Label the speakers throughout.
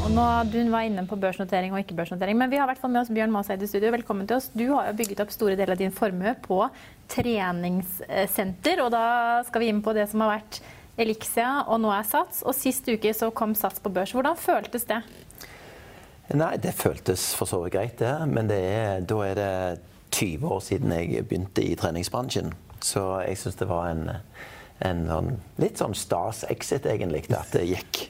Speaker 1: Og nå, du var inne på børsnotering og ikke børsnotering, men vi har i hvert fall med oss Bjørn Maaseid i studio. Velkommen til oss. Du har jo bygget opp store deler av din formue på treningssenter, og da skal vi inn på det som har vært Elixia og nå er Sats. Og sist uke så kom Sats på børs. Hvordan føltes det?
Speaker 2: Nei, det føltes for så vidt greit, det. Men det er, da er det 20 år siden jeg begynte i treningsbransjen. Så jeg syns det var en, en sånn, litt sånn stas exit, egentlig, at det gikk,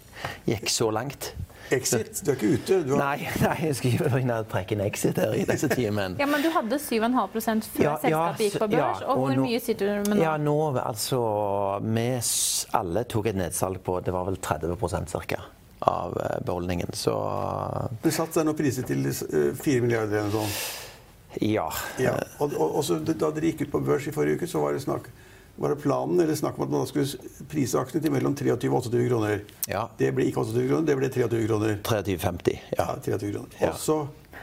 Speaker 2: gikk så langt.
Speaker 3: Exit? Du er ikke ute? Du har...
Speaker 2: Nei, nei, jeg skulle ikke begynne å trekke en exit her i disse timene.
Speaker 1: Ja, Men du hadde 7,5 før selskapet gikk på børs. og, hvor mye sitter du med nå?
Speaker 2: Ja, nå altså Vi s- alle tok et nedsalg på det var vel 30 ca. av eh, beholdningen. Så
Speaker 3: Det satt seg noen priser til eh, 4 milliarder eller noe sånt.
Speaker 2: ja.
Speaker 3: Ja. Og, og, og så d- da dere gikk ut på børs i forrige uke, så var det snakk var det planen eller snakk om at man da skulle s- prise aksjene til mellom 23 og 28 kroner.
Speaker 2: Ja.
Speaker 3: Det ble ikke 28 kroner, det ble 23 kroner.
Speaker 2: 23,50.
Speaker 3: Ja,
Speaker 2: Ja.
Speaker 3: 23 kroner.
Speaker 2: Ja.
Speaker 3: Og så-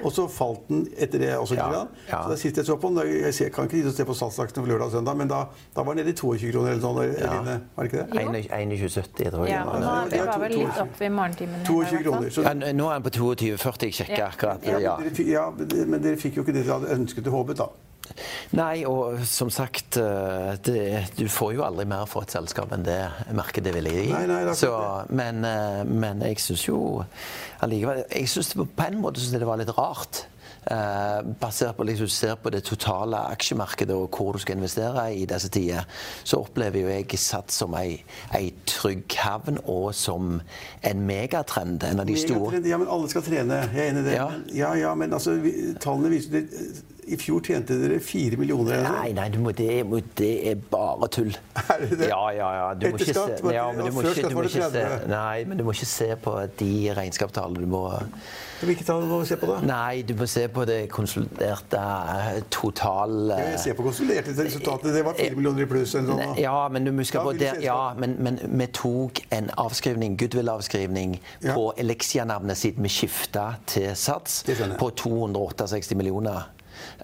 Speaker 3: Og så falt den etter det også.
Speaker 2: Ja,
Speaker 3: Ja.
Speaker 2: ja.
Speaker 3: Så da Sist jeg så på den, da- jeg ser- kan ikke se på salgsaksjene for lørdag og søndag, men da, da var den nede i 22 kroner eller sånn. Eline, var det ikke det?
Speaker 1: Jo.
Speaker 2: 21,70 tror jeg.
Speaker 1: Ja, og nå er vi bare litt opp i morgentimene. i dag, i
Speaker 3: 22
Speaker 1: hvert fall.
Speaker 3: kroner. Så
Speaker 2: Ja, n- nå er han på 22,40. Jeg sjekker
Speaker 1: Ja.
Speaker 2: akkurat.
Speaker 3: Ja,
Speaker 2: Ja.
Speaker 3: men, dere, fikk- ja, men dere- men dere fikk jo ikke det dere hadde ønsket og håpet, da.
Speaker 2: Nei, og som sagt eh, det, Du får jo aldri mer for et selskap enn det markedet ville gi.
Speaker 3: Nei, nei, det er
Speaker 2: Så,
Speaker 3: akkurat
Speaker 2: men, eh, men jeg syns jo allikevel Jeg synes det, På en måte syns jeg det var litt rart. eh, basert på liksom, ser på det totale aksjemarkedet og hvor du skal investere i disse tider, så opplever jo jeg Sats som ei, ei trygg havn og som en megatrend. En av de store.
Speaker 3: Megatrend, Ja, men alle skal trene. Jeg er enig i det.
Speaker 2: Ja.
Speaker 3: Men, ja, ja, men altså, vi, tallene viser det. I fjor tjente dere fire millioner. eller noe.
Speaker 2: Nei, nei, du må, det, må, det er bare tull.
Speaker 3: Er det det?
Speaker 2: Ja, ja, ja. Du må
Speaker 3: Etter
Speaker 2: ikke
Speaker 3: skatt
Speaker 2: se,
Speaker 3: var det-
Speaker 2: ja, men
Speaker 3: og
Speaker 2: du må
Speaker 3: før
Speaker 2: ikke,
Speaker 3: skatt
Speaker 2: du
Speaker 3: var
Speaker 2: må
Speaker 3: det
Speaker 2: ikke se,
Speaker 3: 30.
Speaker 2: nei, men du må ikke se på de regnskapstallene. Du må,
Speaker 3: Hvilke tall må vi se på, da?
Speaker 2: nei, du må se på det konsoliderte eh, total... eh,
Speaker 3: Jeg ser på konsoliderte resultater. Det var fire millioner i pluss. Eller noe.
Speaker 2: Nei, Ja, men du må huske
Speaker 3: Da
Speaker 2: på
Speaker 3: vil det
Speaker 2: det.
Speaker 3: ses
Speaker 2: Ja,
Speaker 3: på.
Speaker 2: men, men vi tok en avskrivning, goodwill-avskrivning,
Speaker 3: Ja.
Speaker 2: på Elixia-navnet sitt. Vi skifta til Sats
Speaker 3: Det skjønner jeg.
Speaker 2: på 268 millioner.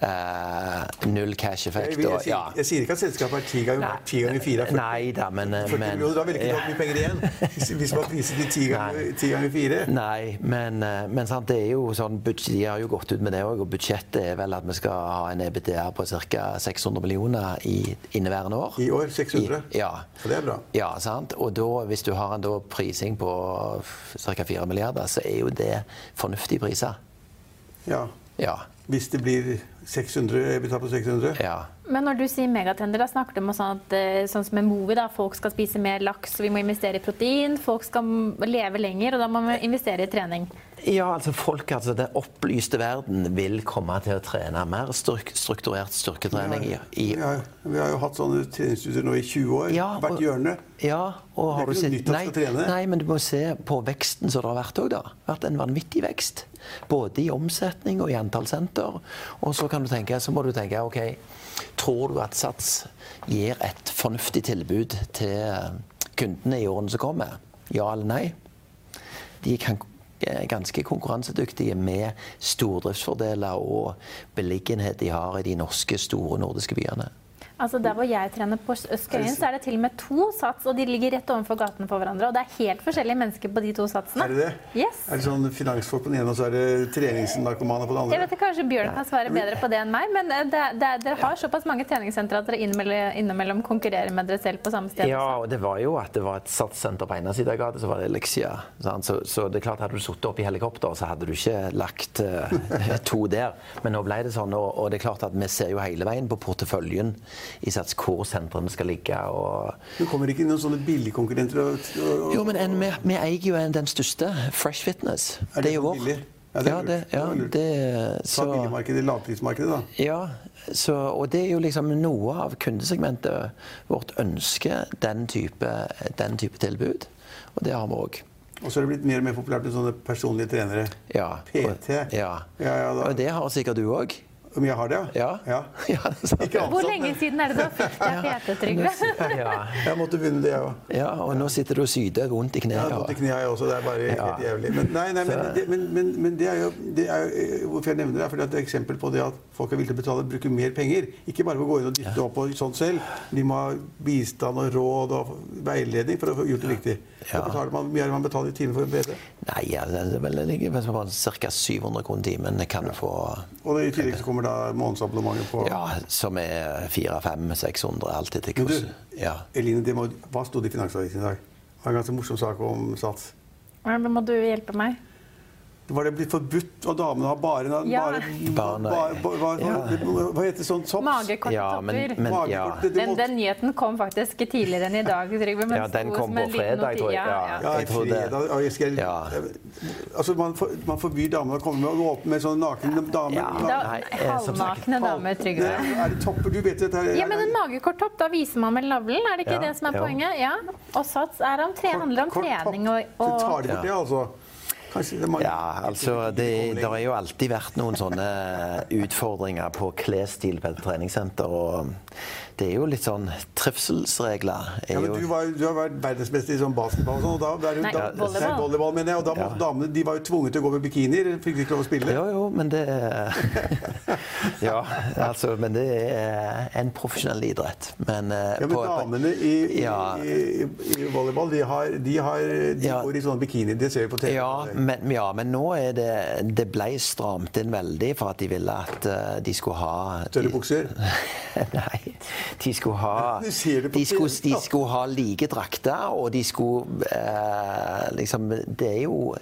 Speaker 2: Eh, null cash
Speaker 3: Jeg,
Speaker 2: effekt.
Speaker 3: vil- jeg,
Speaker 2: og-
Speaker 3: sier- jeg sier ikke at selskapet er ti ganger ti ganger fire. er 40
Speaker 2: Nei da, men, men
Speaker 3: 40 millioner, Da vil ikke du ha mye penger igjen. Hvis, hvis man priser til ti ganger, ti ganger fire.
Speaker 2: Nei, men, eh, men sant, det er jo sånn, budsj- de har jo gått ut med det òg. Og budsjettet er vel at vi skal ha en EBTA på ca. 600 millioner i inneværende år.
Speaker 3: I år 600.
Speaker 2: I- ja.
Speaker 3: Så det er bra.
Speaker 2: Ja, sant? Og da, hvis du har en da prising på ca. 4 milliarder, så er jo det fornuftige priser.
Speaker 3: Ja.
Speaker 2: Ja.
Speaker 3: Hvis det blir 600, vi tar på 600.
Speaker 2: ja.
Speaker 1: Men når du sier megatrender, da snakker du om sånn, at, eh, sånn som en movie, da, folk skal spise mer laks, vi må investere i protein, folk skal m- leve lenger, og da må vi investere i trening.
Speaker 2: Ja, altså folk, altså Den opplyste verden vil komme til å trene mer styrk, strukturert styrketrening i, i
Speaker 3: Vi har, vi har jo hatt sånne treningsstudier nå i 20 år.
Speaker 2: Ja,
Speaker 3: hvert
Speaker 2: og-
Speaker 3: hjørne.
Speaker 2: Ja, og har
Speaker 3: Det
Speaker 2: du
Speaker 3: er ikke noe
Speaker 2: sett
Speaker 3: nytt at
Speaker 2: nei,
Speaker 3: man skal trene.
Speaker 2: nei, men du må se på veksten som det har vært òg, da. Vært en vanvittig vekst. Både i omsetning og i antall senter. Og så kan du tenke, så må du tenke OK, tror du at Sats gir et fornuftig tilbud til eh, kundene i årene som kommer? Ja eller nei? De kan er ganske konkurransedyktige med stordriftsfordeler og beliggenhet de har i de norske, store nordiske byene.
Speaker 1: Altså Der hvor jeg trener på S- Skøyen, så er det til og med to sats, og de ligger rett ovenfor gatene for hverandre. Og det er helt forskjellige mennesker på de to satsene.
Speaker 3: Er det det?
Speaker 1: Yes.
Speaker 3: Er det sånn finansfolk på den ene, og så er det treningsnarkomane på den
Speaker 1: Jeg
Speaker 3: andre?
Speaker 1: vet ikke, Kanskje Bjørn kan svare bedre på det enn meg, men eh, det, det, dere har såpass mange treningssentre at dere innimellom, innimellom konkurrerer med dere selv på samme sted.
Speaker 2: Ja, og det var jo at det var et satssenter på ene siden av gata, så var det Elixia. Sant? Så, så det er klart, hadde du sittet oppe i helikopter, så hadde du ikke lagt eh, to der. Men nå ble det sånn, og, og det er klart at vi ser jo hele veien på porteføljen i sats hvor sentrene skal ligge. og...
Speaker 3: Det kommer ikke noen sånne billigkonkurrenter og, og
Speaker 2: Jo, men en, vi, vi eier jo en, den største, Fresh Fitness.
Speaker 3: Er det
Speaker 2: jo
Speaker 3: for
Speaker 2: vår.
Speaker 3: billig? Ja, det
Speaker 2: Ja, det,
Speaker 3: er lurt.
Speaker 2: ja,
Speaker 3: var lurt.
Speaker 2: det,
Speaker 3: Ta
Speaker 2: så,
Speaker 3: billigmarkedet, lavprismarkedet, da.
Speaker 2: Ja, så, og det er jo liksom noe av kundesegmentet vårt ønsker den type, den type tilbud. Og det har vi òg.
Speaker 3: Og så er det blitt mer og mer populært med sånne personlige trenere.
Speaker 2: Ja.
Speaker 3: PT.
Speaker 2: Ja.
Speaker 3: Ja, ja, da.
Speaker 2: Og det har sikkert du òg.
Speaker 3: Om jeg har det,
Speaker 2: Ja.
Speaker 3: ja.
Speaker 2: Ja, det er sant.
Speaker 3: Ikke alt.
Speaker 1: Hvor lenge siden er det du har fått deg fete, Trygve?
Speaker 2: ja.
Speaker 3: Jeg måtte begynne det, jeg òg.
Speaker 2: ja, og nå sitter du og syder rundt i
Speaker 3: Jeg har vondt
Speaker 2: knærne.
Speaker 3: i knærne jeg også. Det er bare helt
Speaker 2: Ja.
Speaker 3: jævlig. Men, nei, nei, men, det, men, men, men det er jo, det er jo eh, Hvorfor jeg nevner det, er fordi at det er eksempel på det at folk er villige til å betale bruke mer penger. Ikke bare ved å gå inn og dytte opp og sånt selv. De må ha bistand og råd og veiledning for å få gjort det riktig.
Speaker 2: Ja.
Speaker 3: Hva betaler man, mye er det man betaler i timen for en PT?
Speaker 2: Nei, ja, det er vel ca. 700 kroner timen kan du få.
Speaker 3: Og i tillegg så kommer da månedsabonnementet på
Speaker 2: Ja, som er 400-500-600, alt etter
Speaker 3: Men du,
Speaker 2: hvordan ja.
Speaker 3: Eline, det må, hva sto det i Finansavisen i dag? Det var en ganske morsom sak om Sats.
Speaker 1: Ja, men må du hjelpe meg?
Speaker 3: Var det blitt forbudt av damene å ha bare,
Speaker 1: Ja.
Speaker 3: bare,
Speaker 2: Bare-
Speaker 3: bare, bare,
Speaker 2: Ja.
Speaker 3: Hva heter sånt sops?
Speaker 2: Ja, men-
Speaker 1: Magekortetopper.
Speaker 2: men- ja.
Speaker 3: Magekort, det- det
Speaker 1: Den,
Speaker 3: må-
Speaker 1: den nyheten kom faktisk tidligere enn i dag, Trygve. men
Speaker 2: Ja, den
Speaker 1: sto
Speaker 2: kom
Speaker 1: som
Speaker 2: på
Speaker 1: en liten
Speaker 2: fredag,
Speaker 1: noti-
Speaker 2: tror jeg.
Speaker 1: Ja, ja.
Speaker 3: Ja,
Speaker 2: Jeg tror det-
Speaker 3: fredag, og jeg skal,
Speaker 2: Ja.
Speaker 3: Altså, man, for, man forbyr damene å komme med, og åpne med sånne nakne damer.
Speaker 2: Ja.
Speaker 1: Da,
Speaker 2: Nei, eh, som sagt,
Speaker 1: halvnakne damer, Trygve.
Speaker 3: Det, er det topper? Du vet dette her.
Speaker 1: Ja, men en magekorttopp, da viser man vel navlen? Er det ikke
Speaker 2: Ja,
Speaker 1: det som er
Speaker 2: ja.
Speaker 1: poenget? Ja. Og sats er om tre, handler om trening og,
Speaker 3: Du tar
Speaker 1: og
Speaker 3: de bort det, altså? Kanskje det er mange
Speaker 2: Ja, altså det, det har jo alltid vært noen sånne eh, utfordringer på klesstil på et treningssenter. Og det er jo litt sånn Trivselsregler
Speaker 3: Ja,
Speaker 2: er
Speaker 3: men du,
Speaker 2: jo
Speaker 3: var, du har vært verdensmester i sånn basketball og sånn. Og da, da, er jo-
Speaker 1: Nei,
Speaker 3: da,
Speaker 1: volleyball.
Speaker 3: Nei, volleyball, mener jeg. Og da måtte damene De var jo tvunget til å gå med bikinier. Fikk de ikke lov å spille.
Speaker 2: Jo, jo, men det Ja, altså, men det er eh, en profesjonell idrett. Men, eh,
Speaker 3: Ja, men
Speaker 2: på- på-
Speaker 3: damene i,
Speaker 2: Ja.
Speaker 3: i, i, i volleyball, de, har, de, har, de
Speaker 2: Ja.
Speaker 3: går i sånne bikini. Det ser vi på TV.
Speaker 2: Ja men, ja, men nå er det Det ble stramt inn veldig for at de ville at eh, de skulle ha
Speaker 3: Større bukser.
Speaker 2: Nei. De skulle ha,
Speaker 3: Du sier det på
Speaker 2: de skulle,
Speaker 3: TV,
Speaker 2: de
Speaker 3: ja.
Speaker 2: skulle ha like drakter, og de skulle eh, liksom Det er jo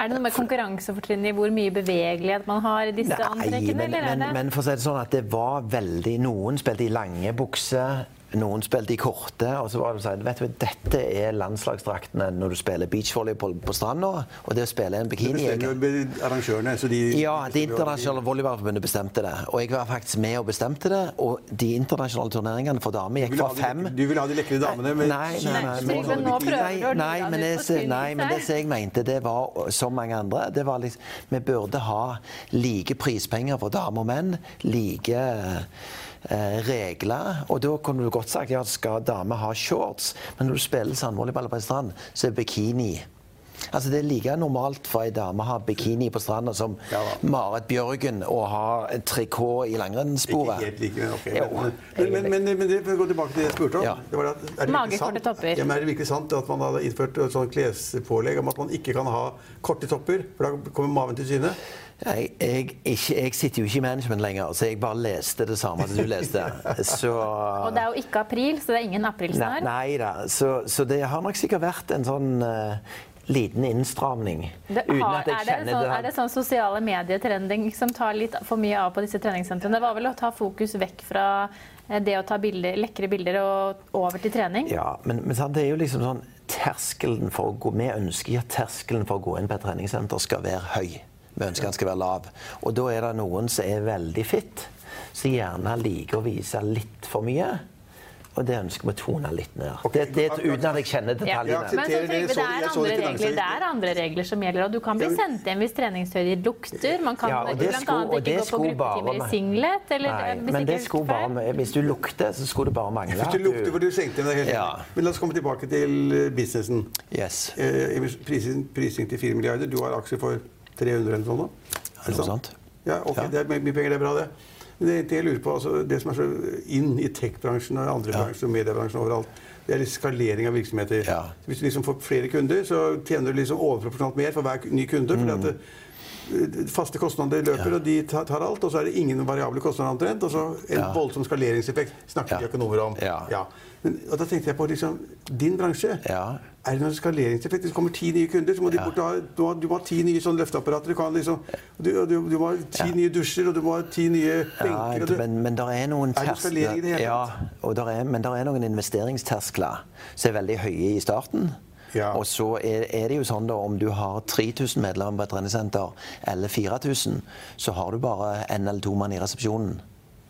Speaker 1: Er det noe med konkurransefortrinnet i hvor mye bevegelighet man har i disse antrekkene,
Speaker 2: men,
Speaker 1: eller er
Speaker 2: men,
Speaker 1: det
Speaker 2: men for å si det sånn at det var veldig Noen spilte i lange bukser. Noen spilte i korte. og så var det sånn, vet du, hva, Dette er landslagsdraktene når du spiller beachvolleyball på stranda. Og det å spille en
Speaker 3: Det
Speaker 2: bikini er
Speaker 3: bestemmer jo arrangørene. Så de,
Speaker 2: Ja, Det internasjonale volleyballforbundet bestemte det. Og jeg var faktisk med og bestemte det. Og de internasjonale turneringene for damer
Speaker 3: Du
Speaker 2: gikk
Speaker 3: vil ha
Speaker 2: fra
Speaker 3: de
Speaker 2: fem
Speaker 3: lekre- Du vil ha de lekre damene med
Speaker 2: Nei, nei, nei,
Speaker 1: Nei, Trygve, nå prøver
Speaker 2: Nei,
Speaker 1: du å
Speaker 2: nei,
Speaker 1: lure deg
Speaker 2: men det,
Speaker 1: ut på
Speaker 2: som-
Speaker 1: skulderen
Speaker 2: nei, men det
Speaker 1: selv.
Speaker 2: som jeg mente, det var som mange andre det var liksom, Vi burde ha like prispenger for damer og menn. Like eh, regler. Og da kunne du godt sagt ja, skal damer ha shorts? Men når du spiller sandvolleyball på en strand, så er bikini Altså Det er like normalt for ei dame å ha bikini på stranda som
Speaker 3: Ja da.
Speaker 2: Marit Bjørgen å ha et trikot i langrennssporet.
Speaker 3: Ikke helt like, men ok.
Speaker 2: Jo,
Speaker 3: men, men, men, men, men det- for å gå tilbake til det jeg spurte om
Speaker 2: Ja.
Speaker 3: det var det at, er, det
Speaker 1: Magekorte
Speaker 3: virkelig sant,
Speaker 1: topper.
Speaker 3: ja, men er det virkelig sant at man hadde innført et sånt klespålegg om at man ikke kan ha korte topper? For da kommer maven til syne?
Speaker 2: Jeg, jeg, ikke, jeg sitter jo ikke i management lenger, så jeg bare leste det samme som du leste. Så
Speaker 1: Og det er jo ikke april, så det er ingen
Speaker 2: Nei,
Speaker 1: aprilsnarr.
Speaker 2: nei da. Så, så det har nok sikkert vært en sånn eh, liten innstramning.
Speaker 1: Det har, er, det sånn,
Speaker 2: der.
Speaker 1: er det sånn sosiale medietrending som tar litt for mye av på disse treningssentrene? Det var vel å ta fokus vekk fra eh, det å ta bilder, lekre bilder og over til trening?
Speaker 2: Ja, men, men sant, det er jo liksom sånn terskelen for å gå, Vi ønsker at terskelen for å gå inn på et treningssenter skal være høy. Vi ønsker den skal være lav. Og da er det noen som er veldig fit, som gjerne liker å vise litt for mye. Og det ønsker vi å tone litt ned.
Speaker 3: Ok.
Speaker 2: Det, det, uten at jeg kjenner
Speaker 1: Ja.
Speaker 2: detaljene.
Speaker 1: Men sånn,
Speaker 3: Jeg
Speaker 1: så
Speaker 3: aksepterer det. Jeg
Speaker 1: Trygve,
Speaker 3: så
Speaker 1: det
Speaker 3: det-
Speaker 1: er
Speaker 3: jeg
Speaker 1: andre regler
Speaker 3: så det i
Speaker 1: Det er andre regler som gjelder, og du kan bli
Speaker 3: Ja, men-
Speaker 1: sendt hjem hvis treningstøyet lukter. Man kan
Speaker 2: Ja,
Speaker 1: bl.a.
Speaker 2: og det
Speaker 1: ikke
Speaker 2: skulle- og
Speaker 1: gå
Speaker 2: det
Speaker 1: på
Speaker 2: skulle bare
Speaker 1: gruppetimer i
Speaker 2: være-
Speaker 1: singlet. Eller, eh,
Speaker 2: Nei,
Speaker 1: hvis ikke
Speaker 2: men det
Speaker 1: jeg husker
Speaker 2: skulle
Speaker 1: feil.
Speaker 2: bare, hvis du lukter, så skulle det bare mangle.
Speaker 3: Hvis
Speaker 2: at
Speaker 3: du lukter for du skjenkte deg helt.
Speaker 2: Ja.
Speaker 3: Men la oss komme tilbake til eh, businessen.
Speaker 2: Yes.
Speaker 3: Eh, emis- prising, prising til 4 milliarder. Du har aksjer for 300 eller noe sånt? nå.
Speaker 2: Er det noe sånt?
Speaker 3: Ja, ok,
Speaker 2: Ja.
Speaker 3: Det er my- mye penger, det er bra, det. Men det, det jeg lurer på, altså, det som er så inn i tech-bransjen og andre bransjer og mediebransjen overalt, det er litt skalering av virksomheter.
Speaker 2: Ja.
Speaker 3: Hvis du liksom får flere kunder, så tjener du liksom overproporsjonalt mer for hver k- ny kunde.
Speaker 2: Mm.
Speaker 3: fordi at det, eh, Faste kostnader løper, og de tar, tar alt. Og så er det ingen variable kostnader omtrent. Og så en
Speaker 2: Ja.
Speaker 3: voldsom skaleringseffekt snakker
Speaker 2: Ja.
Speaker 3: de økonomer om.
Speaker 2: Ja.
Speaker 3: Men, og da tenkte jeg på liksom, din bransje.
Speaker 2: Ja.
Speaker 3: Er det noen skaleringseffekt? Hvis det kommer ti nye kunder, så må de
Speaker 2: Ja.
Speaker 3: bort og ha, du, må, du må ha ti nye sånne løfteapparater. Du, kan liksom, du, du, du må ha ti nye dusjer, og du må ha ti nye benker. og
Speaker 2: Ja,
Speaker 3: du,
Speaker 2: men, men der er noen
Speaker 3: Er det
Speaker 2: terskler-
Speaker 3: skalering i det hele
Speaker 2: ja, og der er, Men det er noen investeringsterskler som er veldig høye i starten.
Speaker 3: Ja.
Speaker 2: Og så er, er det jo sånn da, om du har 3000 medlemmer på et treningssenter, eller 4000, så har du bare en eller to mann i resepsjonen.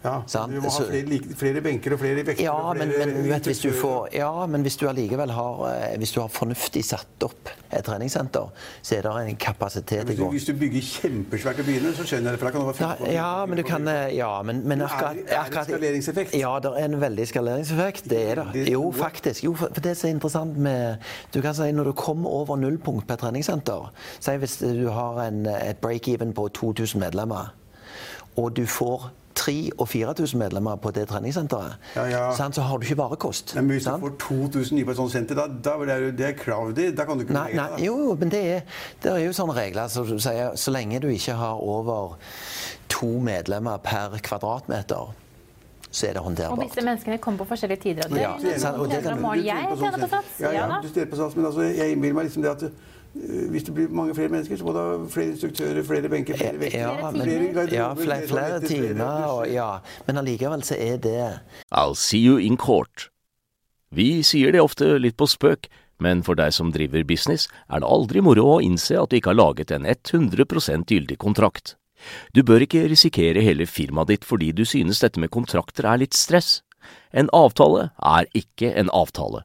Speaker 3: Ja,
Speaker 2: Sant?
Speaker 3: Du må ha
Speaker 2: Så-
Speaker 3: flere, like, flere benker og flere vekter.
Speaker 2: Ja,
Speaker 3: og
Speaker 2: men,
Speaker 3: flere
Speaker 2: men, vet, hvis du
Speaker 3: instruktører.
Speaker 2: får, ja, men hvis du allikevel har, eh, hvis du har fornuftig satt opp et treningssenter, så er det en kapasitet i
Speaker 3: hvis du,
Speaker 2: gang.
Speaker 3: hvis du bygger kjempesvært i byene, så skjønner jeg det. for da kan det være
Speaker 2: Ja,
Speaker 3: 15
Speaker 2: ja, men du kan eh, Ja, men, men
Speaker 3: Men er det-
Speaker 2: akkurat,
Speaker 3: er det
Speaker 2: akkurat
Speaker 3: skaleringseffekt?
Speaker 2: Ja, det er en veldig skaleringseffekt. Det er det.
Speaker 3: Veldig
Speaker 2: Jo,
Speaker 3: stor.
Speaker 2: faktisk. Jo, for for det som er interessant med Du kan si når du kommer over nullpunkt på et treningssenter Si hvis du har en, et break-even på 2000 medlemmer, og du får 3000 og 4000 medlemmer på det treningssenteret,
Speaker 3: Ja, ja.
Speaker 2: sant, så har du ikke varekost.
Speaker 3: Nei, men hvis
Speaker 2: sant?
Speaker 3: du får 2000 nye på et sånt senter, da, da er det, jo- det er crowded. Da kan du ikke
Speaker 2: Nei,
Speaker 3: bevege deg, da.
Speaker 2: nei, jo, jo, men det er, det er jo sånne regler som du sier Så lenge du ikke har over to medlemmer per kvadratmeter, så er det
Speaker 1: Og disse
Speaker 2: håndterbart.
Speaker 1: menneskene kommer på forskjellige tider av
Speaker 2: Ja,
Speaker 3: Du trener-
Speaker 1: døgnet.
Speaker 2: sant, og
Speaker 1: noen
Speaker 2: det
Speaker 1: trener
Speaker 2: kan-
Speaker 1: om morgenen.
Speaker 3: du trener
Speaker 1: Jeg
Speaker 3: på
Speaker 1: trener
Speaker 3: sånt
Speaker 1: på sats.
Speaker 3: senter. Ja,
Speaker 1: Ja da.
Speaker 3: ja, du trener på sats, men altså, jeg innbiller meg liksom det at øh, hvis det blir mange flere mennesker, så må det ha flere instruktører, flere benker, flere vekter.
Speaker 2: Ja, men,
Speaker 3: flere garderober,
Speaker 2: ja, flere, flere
Speaker 3: flere toaletter, flere
Speaker 2: timer og
Speaker 3: dusjer.
Speaker 2: ja. Men allikevel så er det
Speaker 4: I'll see you in court. Vi sier det ofte litt på spøk, men for deg som driver business, er det aldri moro å innse at du ikke har laget en 100 gyldig kontrakt. Du bør ikke risikere hele firmaet ditt fordi du synes dette med kontrakter er litt stress. En avtale er ikke en avtale.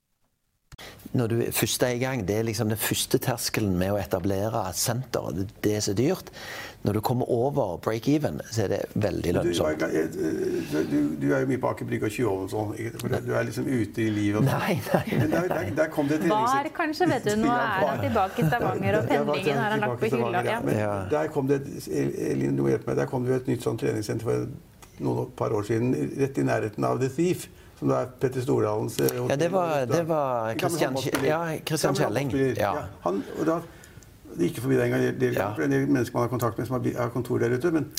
Speaker 2: når du først er i gang, det er liksom den første terskelen med å etablere et senter. Det det er så dyrt. Når du kommer over break-even, så er det veldig
Speaker 3: Du, eh,
Speaker 2: lønnsomt.
Speaker 3: du, du, du er jo mye på Aker Brygge og Tjuvholm og sånn. ikke? For Du er liksom ute i livet. og sånn.
Speaker 2: Nei, nei,
Speaker 3: Men der, der, der kom det et
Speaker 1: Var,
Speaker 3: treningssenter.
Speaker 1: kanskje, vet du. Nå er han tilbake i Stavanger, og
Speaker 3: Jeg var
Speaker 1: pendlingen har han lagt på
Speaker 3: tilbake til
Speaker 1: hylla.
Speaker 3: Stavanger,
Speaker 1: Ja.
Speaker 3: ja. Men
Speaker 2: Ja.
Speaker 3: Der kom det et, Elin, du må hjelpe meg, der kom det jo et nytt sånn treningssenter for noen år- par år siden, rett i nærheten av The Thief. Som da er Petter Stordalens eh, hotell.
Speaker 2: Ja, det var- det var
Speaker 3: En gammel
Speaker 2: Christian-
Speaker 3: håndballspiller.
Speaker 2: ja, Christian
Speaker 3: Gammel
Speaker 2: Kjelling,
Speaker 3: håndballspiller,
Speaker 2: ja.
Speaker 3: Han, og da, det gikk jo forbi den gangen, det
Speaker 2: Ja.
Speaker 3: er en del mennesker man har kontakt med som har bi- har kontor der ute, men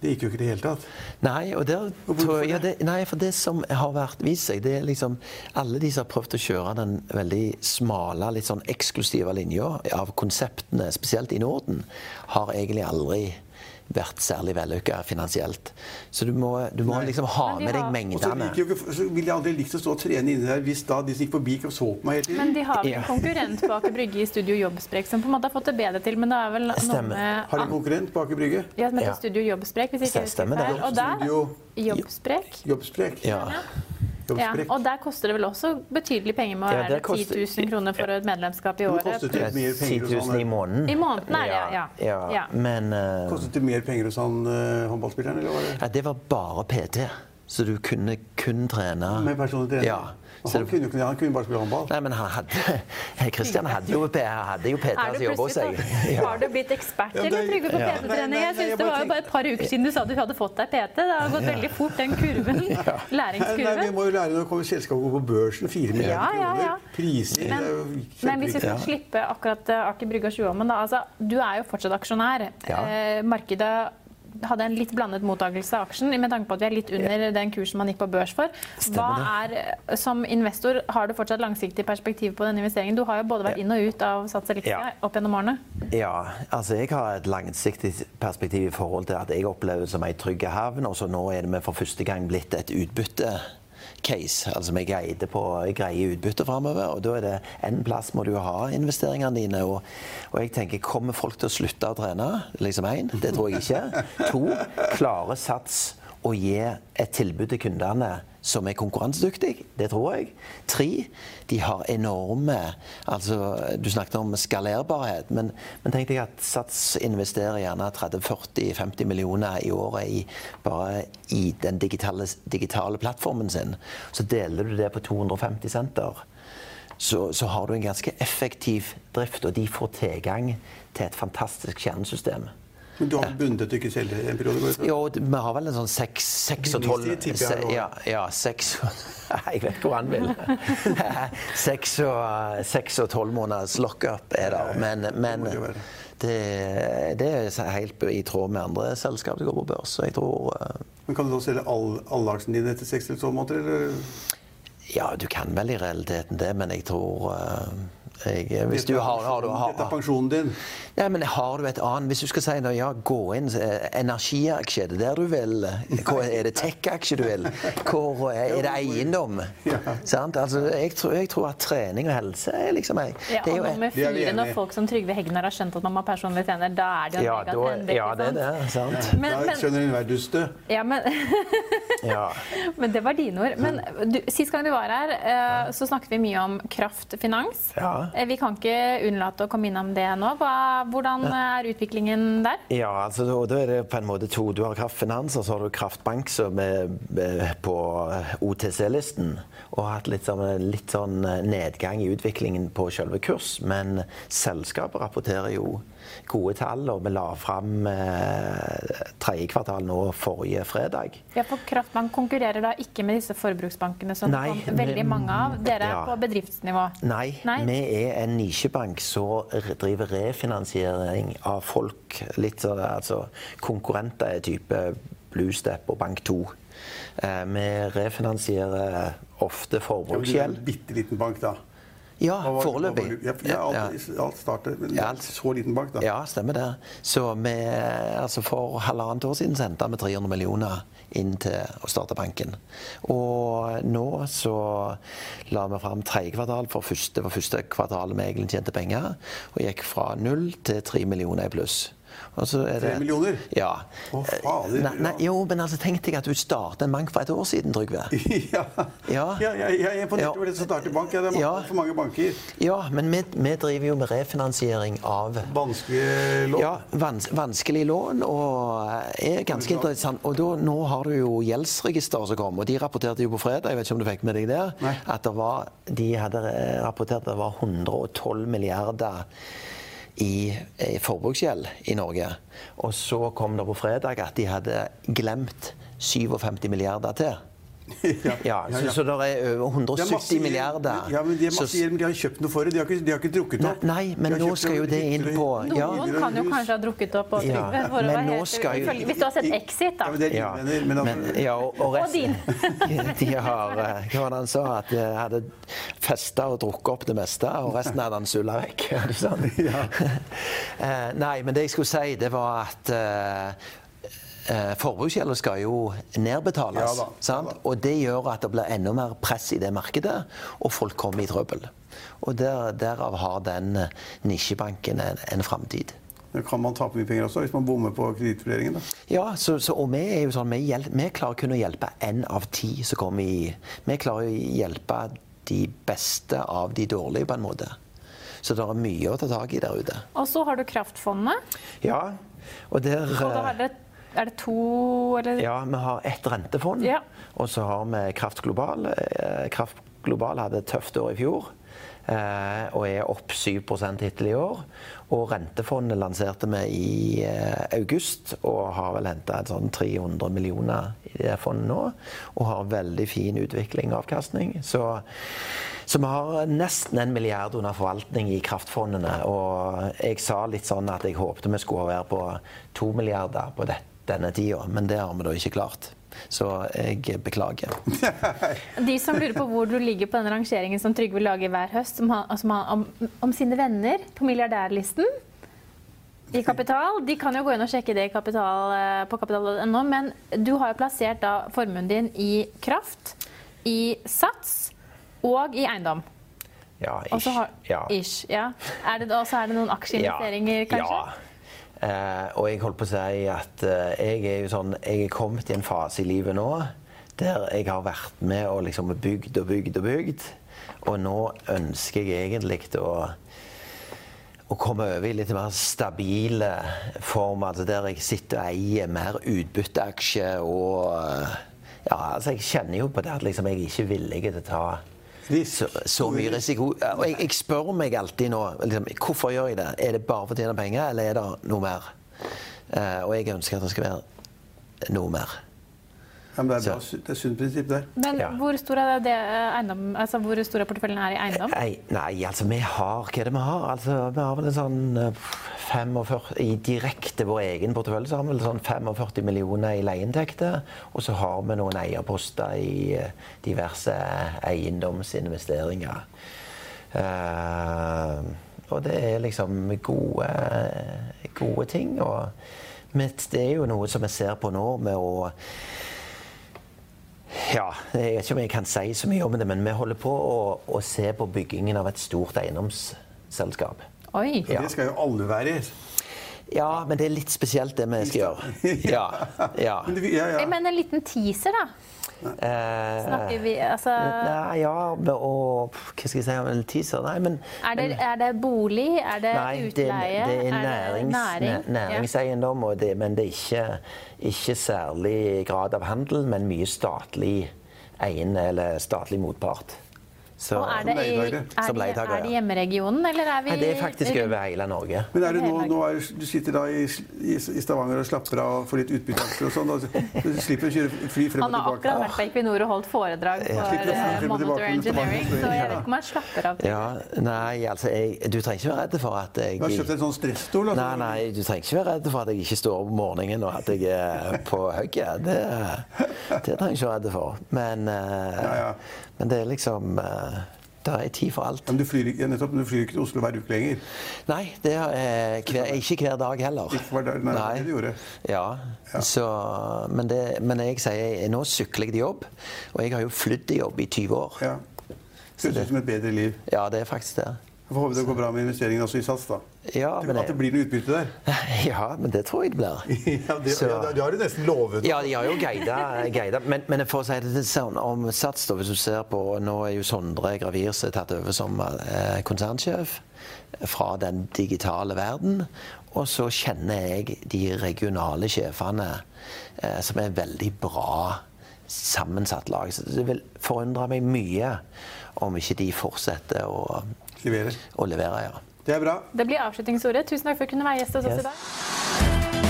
Speaker 3: det gikk jo ikke i det hele tatt.
Speaker 2: Nei, og der
Speaker 3: hvorfor
Speaker 2: tror jeg, ja,
Speaker 3: det?
Speaker 2: det, nei, for det som har vært vist seg, det er liksom alle de som har prøvd å kjøre den veldig smale, litt sånn eksklusive linja av konseptene, spesielt i Norden, har egentlig aldri vært særlig vellykka finansielt. Så du må, du må liksom
Speaker 1: Men
Speaker 2: ha
Speaker 1: de
Speaker 2: med deg
Speaker 1: har-
Speaker 3: Og så,
Speaker 2: mengdene.
Speaker 3: gikk jo ikke, så ville jeg aldri likt å stå og trene inne der hvis da de som gikk forbi ikke så på meg hele tiden.
Speaker 1: Men de har vel
Speaker 2: Ja.
Speaker 1: en konkurrent på Aker Brygge i Studio Jobbsprek som på en måte har fått det bedre til, men det er vel noe
Speaker 2: Stemmer.
Speaker 1: med
Speaker 3: Har de en konkurrent på Aker Brygge?
Speaker 1: ja, som heter
Speaker 2: Ja.
Speaker 1: Studio Jobbsprek, hvis ikke jeg husker
Speaker 2: Stemmer det.
Speaker 1: feil. Og
Speaker 3: Studio
Speaker 1: der Jobbsprek.
Speaker 3: Jobbsprek.
Speaker 2: Ja.
Speaker 1: Ja,
Speaker 3: Jobbsprek.
Speaker 1: og der koster det vel også betydelig penger med å
Speaker 2: Ja,
Speaker 1: være
Speaker 2: det koster-
Speaker 1: 10 000 kroner for et medlemskap i
Speaker 3: Det
Speaker 1: året.
Speaker 3: kostet jo mer
Speaker 2: 10
Speaker 3: penger hos
Speaker 2: 000 i
Speaker 3: han,
Speaker 1: I
Speaker 2: måneden.
Speaker 1: måneden er det, ja.
Speaker 2: ja.
Speaker 1: ja.
Speaker 2: Men eh,
Speaker 3: kostet det mer penger hos han eh, håndballspilleren, eller var det
Speaker 2: ja, det var bare PT, så du kunne kun trene
Speaker 3: med personlig trener?
Speaker 2: Ja.
Speaker 3: Og
Speaker 2: Så
Speaker 3: han,
Speaker 2: det-
Speaker 3: kunne jo ikke, han kunne bare spille håndball.
Speaker 2: Nei, men han hadde Kristian hadde jo, hadde jo
Speaker 1: Er
Speaker 2: PT-er
Speaker 1: du
Speaker 2: som jobba altså hos
Speaker 1: plutselig,
Speaker 2: seg.
Speaker 1: på- har du blitt ekspert
Speaker 3: Ja,
Speaker 1: eller
Speaker 3: det-
Speaker 1: trygge på
Speaker 3: ja. Nei,
Speaker 1: PT-trening?
Speaker 3: nei,
Speaker 1: Jeg
Speaker 3: nei, jeg
Speaker 1: synes Det
Speaker 3: bare
Speaker 1: var jo bare et par uker siden du sa du hadde fått deg PT. Det har gått veldig fort, den kurven.
Speaker 3: Nei, vi
Speaker 1: Læringskurven.
Speaker 3: må jo lære når det kommer selskapet går på børsen, fire milliarder
Speaker 1: Ja, ja, ja.
Speaker 3: kroner, priser det er jo
Speaker 1: Men hvis vi
Speaker 3: kjempeviktig.
Speaker 1: skal slippe akkurat eh, Aker Brygge og Sjuholmen, da. Altså, du er jo fortsatt aksjonær.
Speaker 2: Ja.
Speaker 1: Eh, Markedet hadde en litt blandet mottakelse av aksjen, med tanke på at vi er litt under den kursen man gikk på børs for. Hva er, eh, som investor, har du fortsatt langsiktig perspektiv på denne investeringen? Du har jo både vært inn og ut av Sats Elixia
Speaker 2: Ja.
Speaker 1: opp gjennom årene.
Speaker 2: Ja, altså jeg har et langsiktig perspektiv i forhold til at jeg opplever det som ei trygg havn, og så nå er det vi for første gang blitt et utbytte. Case, altså Vi guider på greie utbytte framover. Og da er det en plass må du ha investeringene dine. Og, og jeg tenker, kommer folk til å slutte å trene? Liksom én, det tror jeg ikke. To, klarer Sats å gi et tilbud til kundene som er konkurransedyktig. Det tror jeg. Tre, de har enorme altså, Du snakket om skalerbarhet. Men, men tenk deg at Sats investerer gjerne 30-40-50 millioner i året i, bare i den digitale, digitale plattformen sin. Så deler du det på 250 senter så, så har du en ganske effektiv drift, og de får tilgang til et fantastisk kjernesystem.
Speaker 3: Men du har bundet at du ikke selger i en periode? går det fra?
Speaker 2: Jo, d- vi har vel en sånn seks seks og tolv
Speaker 3: Billigste tipper jeg
Speaker 2: se-
Speaker 3: nå.
Speaker 2: Ja, ja, seks Jeg vet ikke hvor han vil. Seks og seks og tolv måneders lockup er der. Men, men
Speaker 3: det må det være.
Speaker 2: det, det er helt i tråd med andre selskap som går på børs. så Jeg tror eh,
Speaker 3: Men kan du da selge all- alle aksjene dine etter seks eller tolv måneder? Eller?
Speaker 2: Ja, du kan vel i realiteten det, men jeg tror eh, jeg, Hvis du
Speaker 3: Dette er
Speaker 2: har, har, du,
Speaker 3: pensjonen-
Speaker 2: har,
Speaker 3: Dette er pensjonen din.
Speaker 2: Ja, men har du et annet Hvis du skal si noe, ja, gå inn eh, energiaksje, er det der du vil? Hvor, er det tech-aksje du vil? Hvor eh, er, er det eiendom?
Speaker 3: Ja.
Speaker 2: Sant? Altså, jeg, tror, jeg tror at trening og helse er liksom jeg,
Speaker 1: Ja,
Speaker 2: det er
Speaker 1: og nummer
Speaker 3: Det er vi
Speaker 1: fire,
Speaker 3: enig i.
Speaker 1: når folk som Trygve Hegnar har skjønt at man må ha personlig trener, da er det jo
Speaker 2: ja,
Speaker 1: en
Speaker 2: da,
Speaker 1: megatrend.
Speaker 2: ja, det er det. Sant?
Speaker 1: Men,
Speaker 3: Da
Speaker 1: men,
Speaker 3: skjønner enhver dust det.
Speaker 1: ja, men,
Speaker 2: Ja.
Speaker 1: men det var dine ord. Men du, sist gang du var her, eh, så snakket vi mye om kraftfinans.
Speaker 2: Ja.
Speaker 1: Eh, Vi kan ikke unnlate å komme innom det nå. Hva, hvordan eh, er utviklingen der?
Speaker 2: Ja, altså, og da er det på en måte to. Du har kraftfinans, og så har du Kraftbank, som er eh, på OTC-listen. Og har hatt litt sånn, litt sånn nedgang i utviklingen på selve kurs. Men selskapet rapporterer jo gode tall, og vi la fram eh, tredje kvartal nå forrige fredag.
Speaker 1: Ja, for Kraftbank konkurrerer da ikke med disse forbruksbankene som
Speaker 2: Nei,
Speaker 1: det kom veldig
Speaker 2: men-
Speaker 1: mange av. Dere er
Speaker 2: ja.
Speaker 1: på bedriftsnivå.
Speaker 2: Nei, vi er en nisjebank som re- driver refinansiering av folk. Litt sånn altså, konkurrenter er type Bluestep og Bank2. Eh, vi refinansierer ofte
Speaker 3: Ja, men du er en
Speaker 2: forbruksgjeld.
Speaker 3: bitte liten bank, da.
Speaker 2: Ja,
Speaker 3: Hva var-
Speaker 2: foreløpig.
Speaker 3: hva var- Ja, ja, alt, alt startet, men
Speaker 2: Ja, alt.
Speaker 3: så liten bank, da.
Speaker 2: Ja, stemmer det. Så vi, altså for halvannet år siden sendte vi 300 millioner inn til å starte banken. Og nå så la vi fram tredje kvartal for første, det var første kvartalet vi egentlig tjente penger. Og gikk fra null til tre millioner i pluss. Og så er
Speaker 3: Tre millioner?
Speaker 2: Ja.
Speaker 3: Å, fader,
Speaker 2: Nei, nei,
Speaker 3: ja.
Speaker 2: jo, men altså tenk deg at du startet en bank for et år siden, Trygve.
Speaker 3: Ja.
Speaker 2: Ja.
Speaker 3: ja, ja, jeg er imponert
Speaker 2: Ja.
Speaker 3: over det som starter bank. Ja, det er mange,
Speaker 2: Ja.
Speaker 3: for mange banker.
Speaker 2: Ja, men vi, vi driver jo med refinansiering av
Speaker 3: Vanskelige lån.
Speaker 2: Ja, vans vanskelig lån og eh, er ganske interessant. Og da, nå har du jo gjeldsregisteret som kom, og de rapporterte jo på fredag, jeg vet ikke om du fikk med deg det,
Speaker 3: Nei.
Speaker 2: at det var, de hadde eh, rapportert at det var 112 milliarder i, i forbruksgjeld i Norge. Og så kom det på fredag at de hadde glemt 57 milliarder til.
Speaker 3: Ja,
Speaker 2: Ja, så, så det er over
Speaker 3: Det er
Speaker 2: 170
Speaker 3: masse gjeld.
Speaker 2: milliarder.
Speaker 3: Ja, men De er
Speaker 2: Så-
Speaker 3: masse gjeld, men de har kjøpt noe for det. De har ikke, de har ikke drukket opp.
Speaker 2: Nei, men
Speaker 3: De har
Speaker 2: nå
Speaker 3: kjøpt
Speaker 2: skal jo det inn
Speaker 3: hytter-
Speaker 2: på-
Speaker 1: Noen
Speaker 2: ja.
Speaker 1: kan jo kanskje ha drukket opp. Og
Speaker 2: Ja,
Speaker 1: Trygve, for å
Speaker 2: men
Speaker 1: være
Speaker 2: nå
Speaker 1: helt-
Speaker 2: skal jo-
Speaker 1: ifølge- Hvis du har sett Exit, da.
Speaker 3: Ja, men det er
Speaker 2: Ja.
Speaker 3: dine venner. Men, altså,
Speaker 2: Men, ja, og, og,
Speaker 1: Og
Speaker 2: resten, de har, eh, hva var det han sa? At de hadde festa og drukket opp det meste, og resten hadde han sulla vekk. Er det sant? Eh, Nei, men det jeg skulle si, det var at eh, Eh, Forbruksgjelden skal jo nedbetales,
Speaker 3: Ja da, ja
Speaker 2: sant?
Speaker 3: da.
Speaker 2: og det gjør at det blir enda mer press i det markedet, og folk kommer i trøbbel. Og der, derav har den eh, nisjebanken en, en framtid.
Speaker 3: da kan man tape mye penger også hvis man bommer på kredittvurderingen. da.
Speaker 2: Ja, så, så, og vi er jo sånn, vi, hjel- vi klarer kun å hjelpe én av ti som kommer i Vi klarer å hjelpe de beste av de dårlige, på en måte. Så det er mye å ta tak i der ute.
Speaker 1: Og så har du Kraftfondet.
Speaker 2: Ja, og der
Speaker 1: Og da har dere Er det to, eller?
Speaker 2: Eh. Ja, vi har ett rentefond.
Speaker 1: Ja.
Speaker 2: Og så har vi Kraft Global. Eh, Kraft Global hadde et tøft år i fjor. eh, Og er opp 7 hittil i år. Og rentefondet lanserte vi i eh, august, og har vel henta sånn 300 millioner i det fondet nå. Og har veldig fin utvikling og avkastning. Så, så vi har nesten en milliard under forvaltning i kraftfondene. Og jeg sa litt sånn at jeg håpte vi skulle være på to milliarder på dette denne tida, men det har vi da ikke klart. Så jeg beklager.
Speaker 1: De som lurer på hvor du ligger på den rangeringen som Trygve lager hver høst, som han, som han, om, om sine venner på milliardærlisten i Kapital, de kan jo gå inn og sjekke det i kapital, eh, på kapital.no, men du har jo plassert da formuen din i kraft, i sats og i eiendom.
Speaker 2: Ja,
Speaker 1: Og så
Speaker 2: ish.
Speaker 1: har,
Speaker 2: Ja.
Speaker 1: ish, ja. Er det, og så er det noen aksjeinvesteringer, kanskje?
Speaker 2: Ja. Eh, og jeg holdt på å si at eh, jeg er jo sånn Jeg er kommet i en fase i livet nå der jeg har vært med og liksom bygd og bygd og bygd. Og nå ønsker jeg egentlig å å komme over i litt mer stabile form, altså der jeg sitter og eier mer utbytteaksjer og ja, altså Jeg kjenner jo på det at liksom jeg er ikke villig til å ta så, så mye risiko. Og jeg, jeg spør meg alltid nå liksom, hvorfor gjør jeg det. Er det bare for å tjene penger, eller er det noe mer? Eh, og jeg ønsker at det skal være noe mer.
Speaker 3: Ja, men det er, bra, det er sunt prinsipp der.
Speaker 1: Men
Speaker 2: Ja.
Speaker 1: hvor stor er det eh, eiendom, altså hvor stor er porteføljen er i eiendom?
Speaker 2: Nei, nei, altså vi har Hva er det vi har? Altså, vi har vel en sånn eh, 45 I direkte vår egen portefølje så har vi vel sånn 45 millioner i leieinntekter. Og så har vi noen eierposter i eh, diverse eiendomsinvesteringer. Eh, og det er liksom gode, gode ting. Og men det er jo noe som vi ser på nå med å ja, jeg vet ikke om jeg kan si så mye om det, men vi holder på å, å se på byggingen av et stort eiendomsselskap.
Speaker 1: Oi!
Speaker 2: Ja.
Speaker 3: Det skal jo alle være.
Speaker 2: Ja, men det er litt spesielt det vi skal gjøre. Ja, ja.
Speaker 3: Men det, ja, ja.
Speaker 1: Jeg mener en liten teaser, da.
Speaker 2: Eh,
Speaker 1: Snakker vi altså
Speaker 2: nei, ja, men- og pff, hva skal jeg si om en teaser? Nei, men
Speaker 1: er det, er det bolig? Er det
Speaker 2: Nei, det, er-
Speaker 1: utleie?
Speaker 2: det er nærings,
Speaker 1: næring?
Speaker 2: næ- næringseiendom, og det, men det er ikke, ikke særlig grad av handel, men mye statlig eiende eller statlig motpart. Så-
Speaker 1: Ja. Og er det, i, er,
Speaker 3: Leietagere.
Speaker 1: det,
Speaker 2: Som leietagere,
Speaker 1: er det
Speaker 2: ja.
Speaker 1: i hjemmeregionen, eller er vi
Speaker 2: Nei, det er faktisk over hele Norge.
Speaker 3: Men er det nå, nå er, du sitter da i, i i Stavanger og slapper av og får litt utbytteaksjer og sånn, og så- så slipper du å kjøre fly frem og
Speaker 1: Han har
Speaker 3: tilbake.
Speaker 1: akkurat vært på Equinor og holdt foredrag
Speaker 3: Slipp
Speaker 1: for
Speaker 3: det frem,
Speaker 1: eh,
Speaker 3: frem og
Speaker 1: Monitor
Speaker 3: tilbake, tilbake.
Speaker 1: Engineering, så jeg vet ikke om jeg slapper av.
Speaker 2: Ja, nei, altså jeg, Du trenger ikke være redd for at jeg
Speaker 3: Du har kjøpt en sånn stressstol. altså.
Speaker 2: Nei, nei, du trenger ikke være redd for at jeg ikke står opp om morgenen og at jeg er på hugget. Det, det trenger jeg ikke være redd for. Men, eh,
Speaker 3: Ja, ja.
Speaker 2: men det er liksom eh, Det er tid for alt.
Speaker 3: Men du flyr, ikke- ja, nettopp, men du flyr ikke til Oslo hver uke lenger.
Speaker 2: Nei, det er eh, hver, ikke hver dag heller.
Speaker 3: Ikke hver dag, nei, det du gjorde.
Speaker 2: Ja. Så, men, det, men jeg sier eh, nå sykler jeg til jobb, og jeg har jo flydd til jobb i 20 år.
Speaker 3: Ja. Høres ut som et bedre liv.
Speaker 2: Ja, det er faktisk det.
Speaker 3: Jeg får håpe det går bra med investeringene også i SAS, da.
Speaker 2: Ja, men
Speaker 3: At det
Speaker 2: det,
Speaker 3: blir noe utbytte der.
Speaker 2: ja, men det tror jeg det blir.
Speaker 3: Ja, det,
Speaker 2: Så-
Speaker 3: ja, det har du nesten lovet.
Speaker 2: Ja, de har jo guida, guida. Men, men for å si det litt sånn om Sats, da, hvis du ser på Nå er jo Sondre Gravirse tatt over som eh, konsernsjef fra den digitale verden. Og så kjenner jeg de regionale sjefene eh, som er veldig bra sammensatt lag. Så det vil forundre meg mye om ikke de fortsetter å,
Speaker 3: Leverer.
Speaker 2: å levere, ja.
Speaker 3: Det er bra.
Speaker 1: Det blir avslutningsordet. Tusen takk for å kunne være gjest hos oss
Speaker 2: Yes.
Speaker 1: i dag.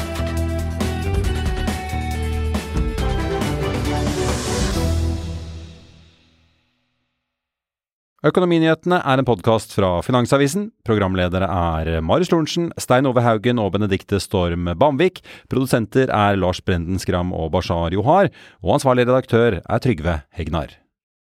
Speaker 5: Økonominyhetene er en podkast fra Finansavisen. Programledere er Marius Lorentzen, Stein Ove Haugen og Benedikte Storm Bamvik. Produsenter er Lars Brenden Skram og Bashar Johar. Og ansvarlig redaktør er Trygve Hegnar.